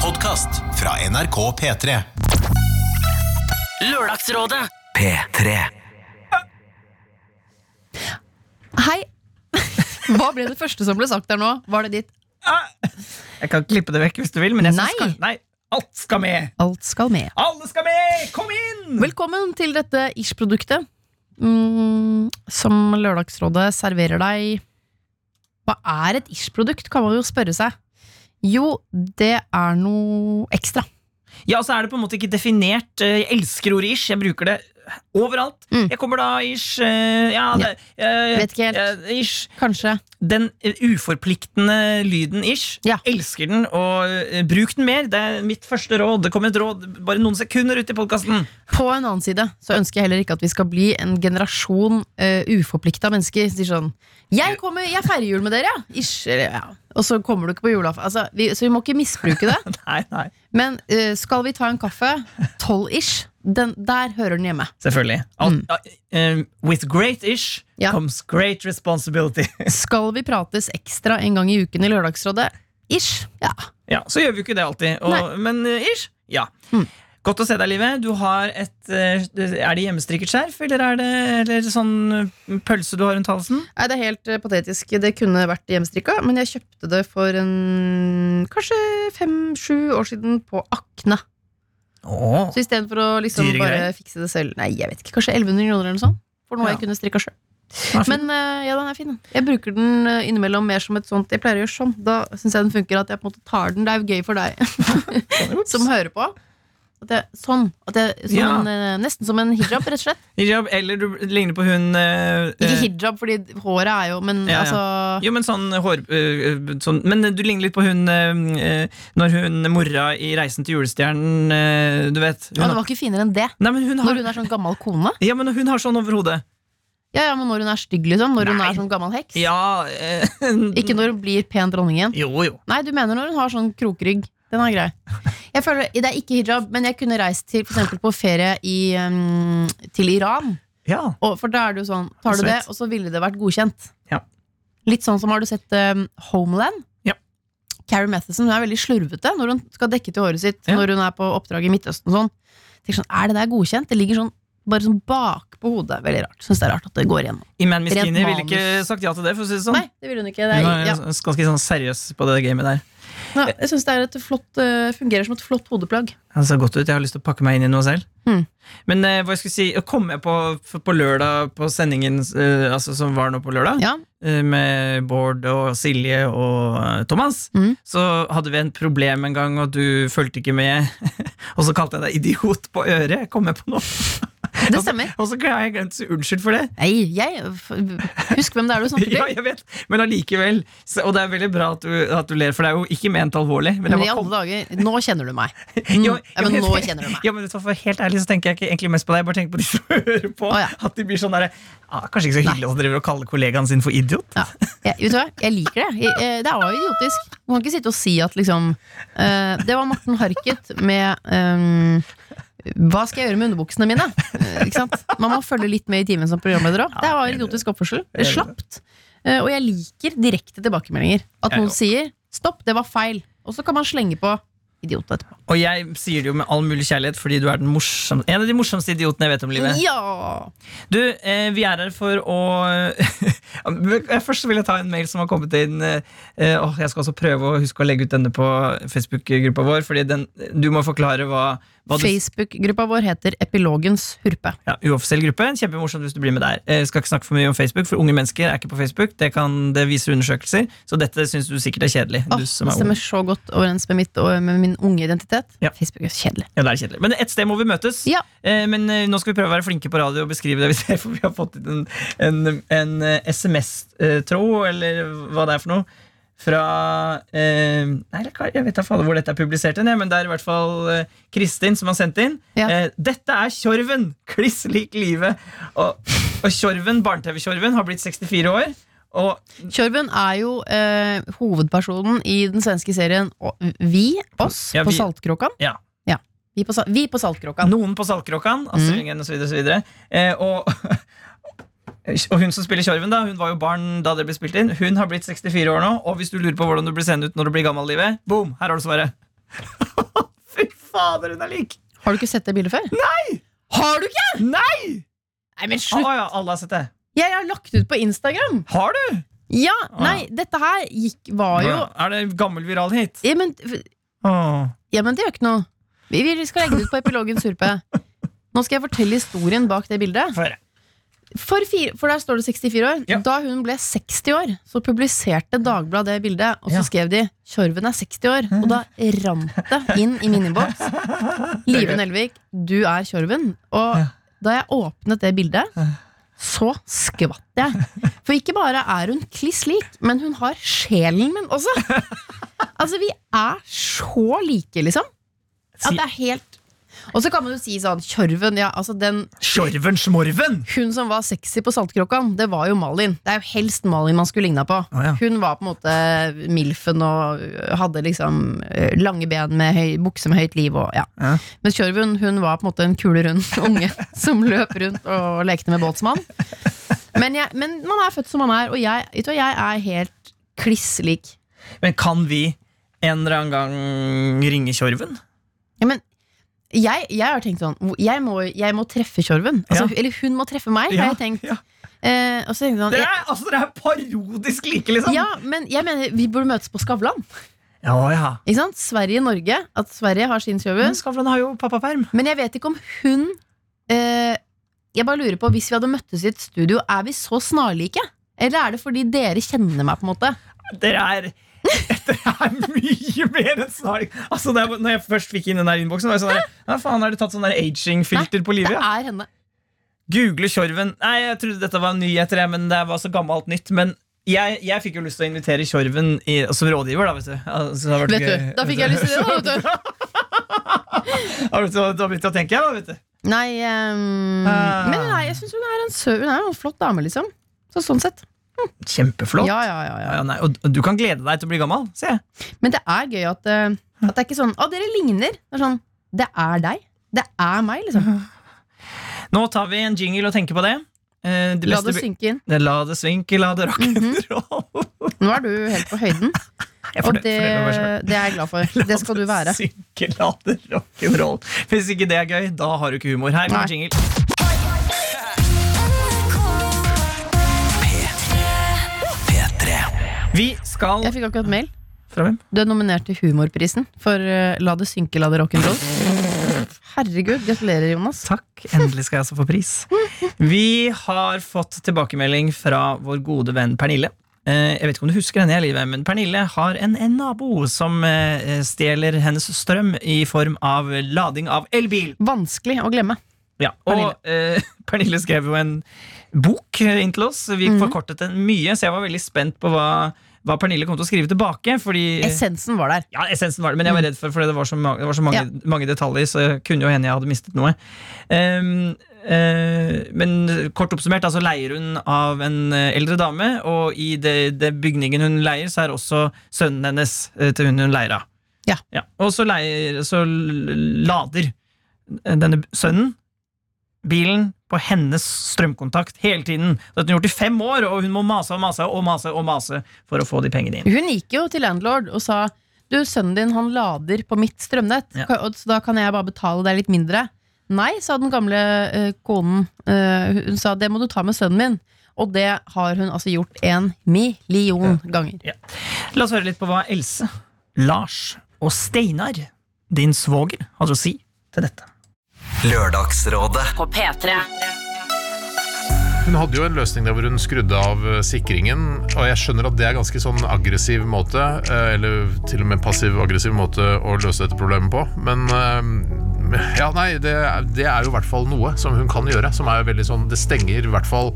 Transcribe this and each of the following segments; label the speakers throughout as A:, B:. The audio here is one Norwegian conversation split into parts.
A: Podkast fra NRK P3.
B: Lørdagsrådet
C: P3.
D: Hei! Hva ble det første som ble sagt der nå? Var det ditt
E: Jeg kan klippe det vekk hvis du vil, men jeg
D: Nei.
E: synes kanskje Nei, alt skal med!
D: Alt skal med?
E: Alle skal med! Kom inn!
D: Velkommen til dette ish-produktet. Mm, som Lørdagsrådet serverer deg. Hva er et ish-produkt, kan man jo spørre seg. Jo, det er noe ekstra.
E: Ja, så er det på en måte ikke definert. Eh, Jeg elsker ordet ish. Jeg bruker det overalt.
D: Mm.
E: Jeg kommer da ish eh, Ja, det, eh,
D: Vet ikke helt.
E: eh, Ish.
D: Kanskje.
E: Den eh, uforpliktende lyden ish.
D: Ja.
E: Elsker den, og eh, bruk den mer. Det er mitt første råd. Det kommer et råd bare noen sekunder ut i podkasten.
D: På en annen side så ønsker jeg heller ikke at vi skal bli en generasjon uh, uforplikta mennesker. som Sier sånn jeg, kommer, 'Jeg feirer jul med dere, ja.' Ish, eller, ja. Og så kommer du ikke på julaften. Altså, vi, så vi må ikke misbruke det.
E: Nei, nei.
D: Men eh, skal vi ta en kaffe? Tolv-ish. Den, der hører den hjemme.
E: Selvfølgelig. Alt, eh, with great ish
D: Mm. Ja.
E: comes great responsibility.
D: Skal vi prates ekstra en gang i uken i Lørdagsrådet? Ish. Ja.
E: Ja, Så gjør vi jo ikke det alltid, og, men eh, ish. Ja.
D: Mm.
E: Godt å se deg, Live. Du har et, eh, Er det hjemmestrikket skjerf, eller er det eller sånn eh, pølse du har rundt halsen?
D: Nei, det er helt eh, patetisk. Det kunne vært hjemmestrikka, men jeg kjøpte det for en kanskje fem-sju år siden på Akne.
E: Åh.
D: Så istedenfor å liksom
E: Dyre
D: bare
E: greier.
D: fikse det selv Nei, jeg vet ikke, kanskje 1100 kroner eller noe sånt. For noe
E: Ja.
D: jeg kunne strikka sjøl.
E: Den er fin.
D: Men eh, ja, den er fin. den. Jeg bruker den eh, innimellom mer som et sånt Jeg pleier å gjøre sånn. Da syns jeg den funker at jeg på en måte tar den. Det er jo gøy for deg.
E: Ups.
D: som hører på. At jeg, sånn. At jeg, som
E: Ja.
D: en, eh, nesten som en hijab, rett og slett.
E: Hijab, eller du ligner på hun eh,
D: Ikke
E: eh,
D: hijab, fordi håret er jo Men
E: Ja, ja.
D: altså
E: Jo, men sånn hår... eh, sånn, men du ligner litt på hun eh, eh, når hun mora i Reisen til julestjernen eh, Du vet. Hun
D: ja, Det
E: har,
D: var ikke finere enn det.
E: nei, men hun
D: Når
E: har,
D: hun er sånn gammel kone.
E: ja, men hun har sånn over hodet.
D: Ja, ja, men når hun er stygg, liksom. Når hun
E: Nei.
D: er sånn gammel heks.
E: Ja eh,
D: Ikke når hun blir pen dronning igjen.
E: Jo, jo.
D: Nei, du mener når hun har sånn krokrygg. Den er grei. Jeg føler, Det er ikke hijab, men jeg kunne reist til for eksempel på ferie i, um, til Iran.
E: Ja.
D: Og, for da er det jo sånn, tar du det,
E: Svett.
D: og så ville det vært godkjent.
E: Ja.
D: Litt sånn som har du sett um, Homeland?
E: Ja.
D: Carrie Matheson hun er veldig slurvete når hun skal dekke til håret sitt
E: Ja.
D: når hun er på oppdrag i Midtøsten. og Sånn. Tenk sånn, Er det der godkjent? Det ligger sånn bare sånn bak på hodet. Veldig rart. Syns det er rart at det går igjennom.
E: Iman Miskini
D: Rent
E: ville ikke
D: manus.
E: sagt ja til det, for å si det sånn.
D: Nei, det vil hun ikke. Det
E: Hun
D: er,
E: er
D: ja.
E: ganske sånn seriøs på det gamet der.
D: Ja, jeg syns det er et flott, eh, fungerer som et flott hodeplagg.
E: Han ser godt ut, Jeg har lyst til å pakke meg inn i noe selv.
D: Mm.
E: Men eh, hva jeg skulle si, kom jeg på, f- på lørdag på sendingen eh, altså, som var nå på lørdag,
D: Ja.
E: eh, med Bård og Silje og eh, Thomas,
D: Mm.
E: så hadde vi en problem en gang, og du fulgte ikke med. og så kalte jeg deg idiot på øret, kom jeg på nå.
D: Det stemmer.
E: Og så har jeg glemt å si unnskyld for det.
D: Nei, jeg f- Husk hvem det er du snakker til.
E: Ja, jeg vet, men allikevel. Så- Og det er veldig bra at du, at du ler, for det er jo ikke ment alvorlig. Men jeg
D: Men i
E: bare
D: alle
E: kom,
D: dager, nå kjenner du meg.
E: Jo,
D: Mm. Ja, men
E: jo,
D: nå
E: jeg-
D: kjenner du meg.
E: Ja, men vet du hva, for helt ærlig så tenker jeg ikke egentlig mest på deg, jeg bare tenker på de som hører på.
D: Å, ja.
E: At de blir sånn derre ah, Kanskje ikke så hyggelig at de driver og kaller kollegaen sin for idiot.
D: Ja. Jeg, vet du hva? jeg liker det. Jeg, eh, det er jo idiotisk. Man kan ikke sitte og si at liksom eh, Det var Morten Harket med ehm, Hva skal jeg gjøre med underbuksene mine? Eh, ikke sant? Man må følge litt med i timen som programleder òg. Det var idiotisk oppførsel. Det er slapt. Eh, og jeg liker direkte tilbakemeldinger. At
E: Jeg
D: noen
E: òg.
D: sier 'stopp, det var feil', og så kan man slenge på 'idiot' etterpå.
E: Og jeg sier det jo med all mulig kjærlighet, fordi du er den morsom, en av de morsomste idiotene jeg vet om livet.
D: Ja!
E: Du, eh, vi er her for å Først vil jeg ta en mail som har kommet inn. eh, eh, åh, jeg skal også prøve å huske å legge ut denne på Facebook-gruppa vår, Fordi den, du må forklare hva, hva du
D: Facebook-gruppa vår heter Epilogens hurpe.
E: ja, uoffisiell gruppe. Kjempemorsomt hvis du blir med der. Eh, skal ikke snakke for mye om Facebook, for unge mennesker er ikke på Facebook. Det, kan, det viser undersøkelser, så dette syns du sikkert er kjedelig.
D: Åh,
E: du som
D: det
E: er ung.
D: stemmer så godt overens med, mitt, og med min unge identitet.
E: Ja.
D: Facebook er kjedelig.
E: Ja, det er kjedelig. Men et sted må vi møtes.
D: Ja.
E: Eh, men eh, nå skal vi prøve å være flinke på radio og beskrive det vi ser, for vi har fått inn en, en, en eh, SMS-tråd, eller hva det er for noe. Fra eh, Nei, eller hva- jeg vet da fader hvor dette er publisert, hen, jeg, men det er i hvert fall eh, Kristin som har sendt inn.
D: Ja.
E: Eh, dette er Tjorven! Kliss lik livet. Og, og Tjorven, barne-TV-Tjorven, har blitt 64 år. Og
D: Tjorven er jo eh, hovedpersonen i den svenske serien og Vi, oss,
E: Ja,
D: på
E: vi-
D: Saltkråkan.
E: ja,
D: Vi på, Sa- vi på Saltkråkan.
E: Noen på Saltkråkan, Astrid Lindgren osv. Og, så videre. eh, og, og hun som spiller Tjorven, da, hun var jo barn da det ble spilt inn. Hun har blitt 64 år nå, og hvis du lurer på hvordan du blir seende ut når du blir gammel, livet, boom, her har du svaret. fader, hun er lik!
D: Har du ikke sett det bildet før?
E: Nei!
D: Har du ikke?!
E: Nei!
D: Nei, men
E: Å
D: slutt!
E: ja, alle har sett det.
D: Jeg har lagt ut på Instagram!
E: Har du?
D: Ja,
E: Ah.
D: nei, dette her gikk, var jo
E: Er det en gammel viral hit?
D: ja, men,
E: Åh.
D: ja, men det gjør ikke noe. Vi, vi skal legge det ut på Epilogen Surpe. Nå skal jeg fortelle historien bak det bildet.
E: Få høre.
D: For, fire, for der står det 64 år.
E: Ja.
D: Da hun ble 60 år, så publiserte Dagbladet det bildet. Og så
E: Ja.
D: skrev de 'Tjorven er 60 år'. Og da rant det inn i min innboks. Live Nelvik, du er Tjorven. Og
E: Ja.
D: da jeg åpnet det bildet, så skvatt jeg. For ikke bare er hun kliss lik, men hun har sjelen min også. Altså, vi er så like, liksom. At det er helt Og så kan man jo si sånn Tjorven, ja, altså den
E: Tjorven Smorven!
D: hun som var sexy på Saltkråkan, det var jo Malin. Det er jo helst Malin man skulle ligna på.
E: Å, ja.
D: Hun var på en måte Milfen og hadde liksom eh, lange ben med høy, bukse med høyt liv og ja.
E: Ja.
D: Mens Tjorven, hun var på en måte en kulerund unge som løp rundt og lekte med båtsmann. Men, jeg, men man er født som man er, og jeg, vet du, hva, jeg er helt kliss lik.
E: Men kan vi en eller annen gang ringe Tjorven?
D: Ja, men jeg, jeg har tenkt sånn hvor- Jeg må, jeg må treffe Tjorven. Altså,
E: Ja.
D: Eller hun må treffe meg, har jeg tenkt.
E: Ja.
D: Eh, og så tenkte jeg sånn,
E: Dere er, altså, dere er parodisk like, liksom!
D: Ja, men jeg mener vi burde møtes på Skavlan.
E: ja. ja.
D: Ikke sant? Sverige-Norge. At Sverige har sin
E: Men
D: Tjorven.
E: Skavlan har jo pappaperm.
D: Men jeg vet ikke om hun eh, Jeg bare lurer på, hvis vi hadde møttes i et studio, er vi så snarlike? Eller er det fordi dere kjenner meg, på en måte?
E: Dere er dere er mye mer enn snark. Altså, da jeg, når jeg først fikk inn den der innboksen, var jeg sånn der, ja, faen, har du tatt sånn der aging-filter på
D: Det
E: livet? Ja?
D: er henne.
E: Google Tjorven. Nei, jeg trodde dette var nyheter, jeg, men det var så gammelt nytt. Men jeg, jeg fikk jo lyst til å invitere Tjorven i, som rådgiver, da, vet du. Altså, det hadde vært
D: Vet du,
E: gøy.
D: da fikk jeg lyst til det. da, Vet du.
E: Da vet du, da begynte jeg å tenke, jeg, da, vet du.
D: Nei, ehm,
E: Ah.
D: men nei, jeg syns hun er en sø Hun er jo en flott dame, liksom. Så sånn sett.
E: Kjempeflott.
D: Ja, ja, ja,
E: Ja,
D: ja.
E: nei, og du kan glede deg til å bli gammel. Se.
D: Men det er gøy at, eh, at det er ikke sånn Å, dere ligner. Det er sånn Det er deg. Det er meg, liksom.
E: Nå tar vi en jingle og tenker på det. Eh, de
D: La
E: beste
D: det
E: bi-
D: synke inn.
E: Det- La det synke, la det rock'n'roll.
D: Nå er du helt på høyden.
E: Jeg
D: Og det,
E: fornøy-
D: det
E: fornøyer meg selv.
D: er jeg glad for. Det skal du være.
E: Synke, la det rock'n'roll. Hvis ikke det er gøy, da har du ikke humor. Her kommer
D: Nei.
E: jingle. Vi skal
D: Jeg fikk akkurat mail.
E: Fra hvem?
D: Du er nominert til Humorprisen for eh, La det synke, la det rock'n'roll. Herregud, gratulerer, Jonas.
E: Takk. Endelig skal jeg altså få pris. Vi har fått tilbakemelding fra vår gode venn Pernille. Eh, Jeg vet ikke om du husker henne, jeg, Live, men Pernille har en, en nabo som eh, stjeler hennes strøm i form av lading av elbil.
D: Vanskelig å glemme.
E: Ja, og Pernille. Pernille skrev jo en bok eh, inn til oss. Vi forkortet den mye, så jeg var veldig spent på hva, hva Pernille kom til å skrive tilbake. Fordi,
D: Essensen var der.
E: ja, essensen var det, men jeg var redd for fordi det var så, ma det var så mange, mange detaljer, så det kunne jo hende jeg hadde mistet noe. Ehm, eh, men kort oppsummert, altså leier hun av en eh, eldre dame, og i det, det bygningen hun leier, så er også sønnen hennes eh, til hun hun leier av.
D: Ja.
E: Og så, leier, så l- lader denne sønnen bilen på hennes strømkontakt hele tiden. Dette har hun gjort i fem år, og hun må mase og mase og mase og mase for å få de pengene inn.
D: Hun gikk jo til landlord og sa Du, sønnen din han lader på mitt strømnett,
E: Ja.
D: ka- og så da kan jeg bare betale deg litt mindre. Nei, sa den gamle eh, konen. Eh, hun sa det må du ta med sønnen min. Og det har hun altså gjort en million ganger.
E: La oss høre litt på hva Else, Lars og Steinar, din svoger, hadde å si til dette.
B: Lørdagsrådet.
C: På P3.
F: Hun hadde jo en løsning der hvor hun skrudde av eh, sikringen, og jeg skjønner at det er ganske sånn aggressiv måte, eh, eller til og med passiv-aggressiv måte å løse dette problemet på, men eh, ja, nei, det, er- det er jo i hvert fall noe som hun kan gjøre, som er veldig sånn, det stenger i hvert fall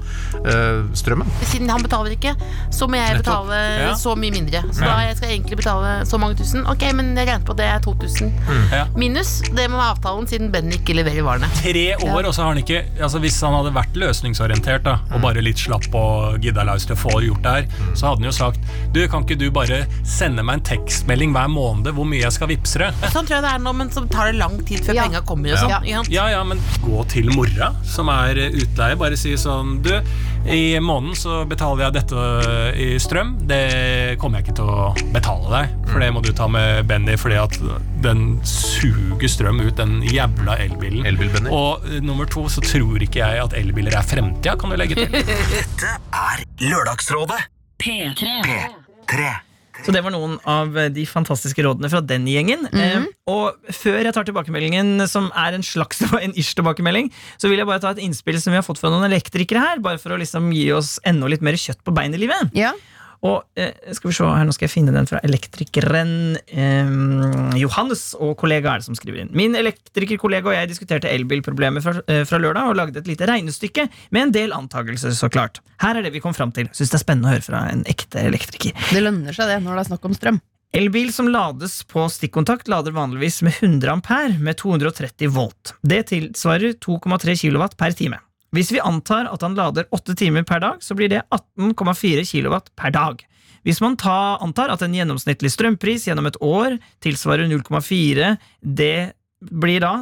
F: eh, strømmen.
G: Siden han betaler ikke, så må jeg
F: Nettopp.
G: betale
F: Ja.
G: så mye mindre. Så
F: Ja.
G: da jeg skal egentlig betale så mange tusen. Ok, men jeg regnet på det er 2000.
H: Ja.
G: Minus det må være avtalen, siden Ben ikke leverer varene.
H: Tre år, og så har han ikke altså Hvis han hadde vært løsningsorientert da,
G: Mm.
H: og bare litt slapp og gidda løs til å få gjort det her, så hadde han jo sagt Du, kan ikke du bare sende meg en tekstmelding hver måned hvor mye jeg skal vippse deg?
G: Sånn tror jeg det er nå, men så tar det lang tid før
D: Ja,
G: penga kommer og sånn.
F: Ja.
G: ikke sant?
H: Ja, ja, men gå til mora, som er eh, utleie. Bare si sånn Du, i måneden så betaler jeg dette eh, i strøm. Det kommer jeg ikke til å betale deg, for det må du ta med Benny, fordi at den suger strøm ut, den jævla elbilen.
F: Elbil, Benny.
H: Og eh, nummer to, så tror ikke jeg at elbiler er fremtida, kan du legge til.
B: Dette er Lørdagsrådet. P3.
E: Så det var noen av de fantastiske rådene fra den gjengen. eh, og før jeg tar tilbakemeldingen, som er en slags en ish-tilbakemelding, så vil jeg bare ta et innspill som vi har fått fra noen elektrikere her, bare for å liksom gi oss enda litt mer kjøtt på bein i livet.
D: Ja.
E: Og eh, skal vi se her, nå skal jeg finne den fra elektrikeren eh, Johannes og kollega er det som skriver inn. Min elektrikerkollega og jeg diskuterte elbilproblemet fra, eh, fra lørdag og lagde et lite regnestykke med en del antakelser, så klart. Her er det vi kom fram til. Syns det er spennende å høre fra en ekte elektriker.
D: Det lønner seg, det, når det er snakk om strøm.
E: Elbil som lades på stikkontakt, lader vanligvis med 100 ampere med 230 volt. Det tilsvarer 2,3 kW per time. Hvis vi antar at han lader 8 timer per dag, så blir det 18,4 kW per dag. Hvis man ta, antar at en gjennomsnittlig strømpris gjennom et år tilsvarer 0,4, det blir da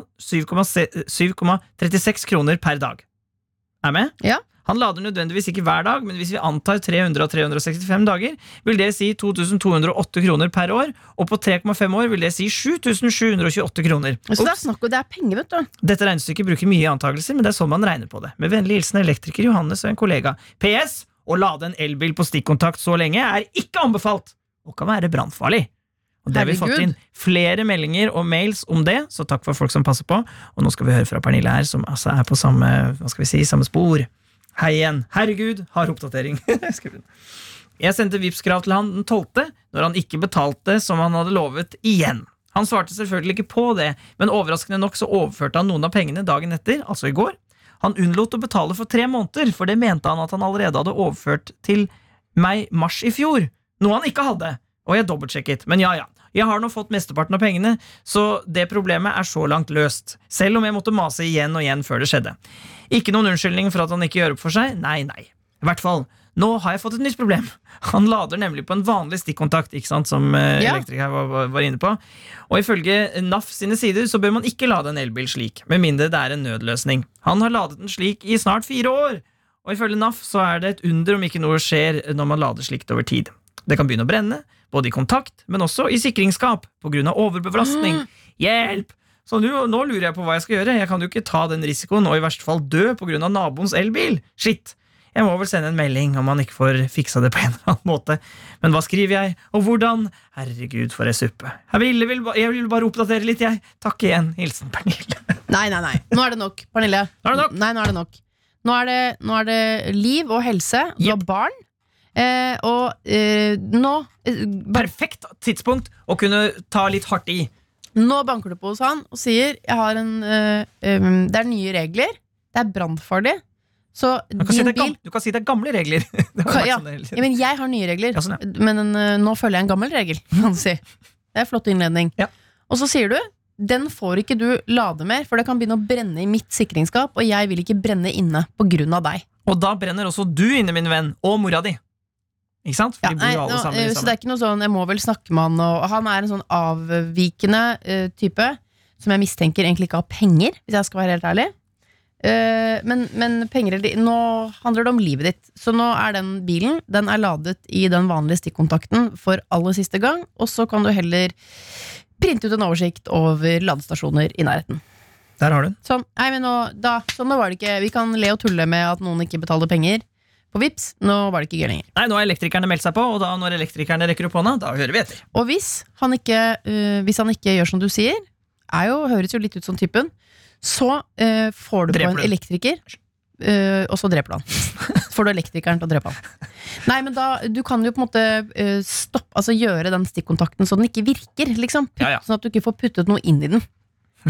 E: 7,36 kroner per dag. Er med?
D: Ja.
E: Han lader nødvendigvis ikke hver dag, men hvis vi antar 300 av 365 dager, vil det si 2208 kroner per år, og på 3,5 år vil det si 7728 kroner.
D: Så det
E: Ops.
D: er snakk om det er penger, vet du.
E: Dette regnestykket bruker mye antakelser, men det er sånn man regner på det. Med vennlig hilsen elektriker Johannes og en kollega. PS. Å lade en elbil på stikkontakt så lenge er ikke anbefalt, og kan være brannfarlig. Og det har vi fått
D: Herregud.
E: inn flere meldinger og mails om det, så takk for folk som passer på. Og nå skal vi høre fra Pernille her, som altså er på samme, hva skal vi si, samme spor. Hei igjen. Herregud, har oppdatering. Skriver hun. Jeg sendte Vipps-krav til han den 12., når han ikke betalte som han hadde lovet, igjen. Han svarte selvfølgelig ikke på det, men overraskende nok så overførte han noen av pengene dagen etter, altså i går. Han unnlot å betale for tre måneder, for det mente han at han allerede hadde overført til meg mars i fjor, noe han ikke hadde, og jeg dobbeltsjekket, men ja ja. Jeg har nå fått mesteparten av pengene, så det problemet er så langt løst, selv om jeg måtte mase igjen og igjen før det skjedde. Ikke noen unnskyldning for at han ikke gjør opp for seg, nei, nei. I hvert fall, nå har jeg fått et nytt problem. Han lader nemlig på en vanlig stikkontakt, ikke sant, som eh,
D: Ja.
E: elektriker var, var- var inne på. Og ifølge NAF sine sider så bør man ikke lade en elbil slik, med mindre det er en nødløsning. Han har ladet den slik i snart fire år, og ifølge NAF så er det et under om ikke noe skjer når man lader slikt over tid. Det kan begynne å brenne, både i kontakt, men også i sikringsskap, pga. overbelastning. Hjelp! Så nå, nå lurer jeg på hva jeg skal gjøre. Jeg kan jo ikke ta den risikoen og i verste fall dø pga. naboens elbil. Shit! Jeg må vel sende en melding om han ikke får fiksa det på en eller annen måte. Men hva skriver jeg, og hvordan? Herregud, for ei suppe. Jeg ville, vil, ba- jeg ville bare oppdatere litt, jeg. Takk igjen. Hilsen Pernille.
D: Nei, nei, nei. Nå er det nok, Pernille.
E: Nå er det nok.
D: Nei, nå er det nok. Nå er det, nå er det liv og helse. Du har barn. Eh, og eh, nå, eh, bare,
E: Perfekt tidspunkt å kunne ta litt hardt i.
D: nå banker du på hos han og sier jeg har en, eh, em, det er nye regler. Det er brannfarlig. Så
E: Du kan, si
D: din
E: det er
D: bil
E: gam- du kan si det er gamle regler. Det har
D: Ka-
E: vært
D: ja.
E: sånn hele tiden.
D: ja, men Jeg har nye regler,
E: Ja, sånn,
D: men eh, nå følger jeg en gammel regel. Kan du si. Det er flott innledning.
E: Ja.
D: Og så sier du den får ikke du lade mer, for det kan begynne å brenne i mitt sikringsskap, og jeg vil ikke brenne inne på grunn av deg.
E: Og da brenner også du inne, min venn, og mora di. Ikke sant? For
D: Ja,
E: de bor
D: nei,
E: jo alle
D: nå,
E: sammen i
D: eh, så det
E: samme.
D: er ikke noe sånn 'jeg må vel snakke med han', og han er en sånn avvikende eh, type som jeg mistenker egentlig ikke har penger, hvis jeg skal være helt ærlig. Eh, men, men penger eller Nå handler det om livet ditt. Så nå er den bilen Den er ladet i den vanlige stikkontakten for aller siste gang, og så kan du heller printe ut en oversikt over ladestasjoner i nærheten.
E: Der har du den.
D: Sånn, nei, men nå, da, sånn nå var det ikke Vi kan le og tulle med at noen ikke betaler penger på Vips Nå var det ikke gøy lenger.
E: Nei, nå har elektrikerne meldt seg på, og da når elektrikerne rekker opp hånda, da hører vi etter.
D: Og hvis han ikke, øh, hvis han ikke gjør som du sier, er jo, høres jo litt ut som typen, så øh, får du
E: Dreper
D: på
E: du.
D: en elektriker, øh, og så dreper du han. får du elektrikeren til å drepe han. Nei, men da, du kan jo på en måte øh, stopp, altså gjøre den stikkontakten så den ikke virker, liksom.
E: Ja, ja.
D: Sånn at du ikke får puttet noe inn i den.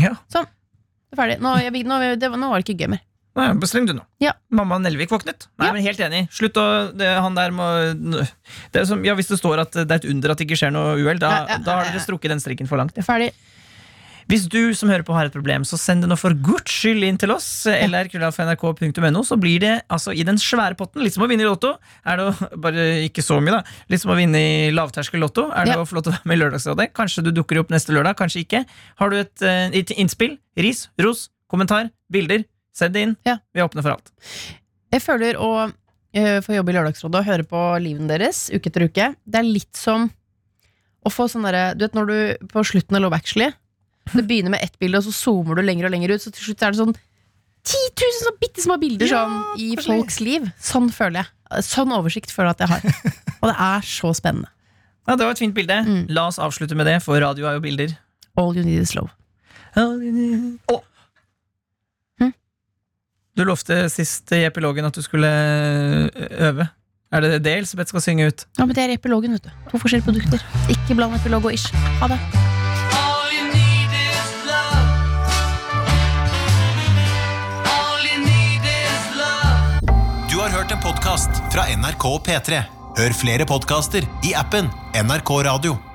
E: Ja.
D: Det er Ferdig. Nå, jeg, nå, det, nå var det ikke gøy mer.
E: Nei, Bestem du nå.
D: Ja.
E: Mamma Nelvik våknet. Nei,
D: Ja.
E: men Helt enig. Slutt å det, Han der må det er som, ja, Hvis det står at det er et under at det ikke skjer noe uhell, da,
D: Ja, ja,
E: da har
D: ja,
E: dere
D: ja.
E: strukket den strikken for langt. Ja.
D: Ferdig.
E: Hvis du som hører på har et problem, så send det nå for guds skyld inn til oss. eh, lr.nrk.no, så blir det altså i den svære potten, litt som å vinne i Lotto, er det å bare ikke så mye, da. Litt som å vinne i lavterskel Lotto, er det
D: Ja.
E: å få lov til å være med i Lørdagsrådet. Kanskje du dukker opp neste lørdag, kanskje ikke. Har du et, eh, et innspill, ris, ros, kommentar, bilder, send det inn.
D: Ja.
E: Vi er åpne for alt.
D: Jeg føler å eh, få jobbe i Lørdagsrådet og høre på livene deres uke etter uke. Det er litt som å få sånn derre Du vet når du på slutten av Love Actually Det begynner med ett bilde, og så zoomer du lenger og lenger ut, så til slutt er det sånn 10 000 sånne bitte små bilder
E: Ja,
D: sånn, i
E: koselig.
D: folks liv. Sånn føler jeg. Sånn oversikt føler jeg at jeg har. Og det er så spennende.
E: Ja, Det var et fint bilde.
D: Mm.
E: La oss avslutte med det, for radio er jo bilder.
D: All you need is love.
E: Å!
D: Hm?
E: Du lovte sist i epilogen at du skulle øve. Er det det Elisabeth skal synge ut?
D: Ja, men det er epilogen, vet du. To forskjellige produkter. Ikke bland epilog og ish. Ha det.
A: Du har hørt en podcast fra NRK P3. Hør flere podcaster i appen NRK Radio.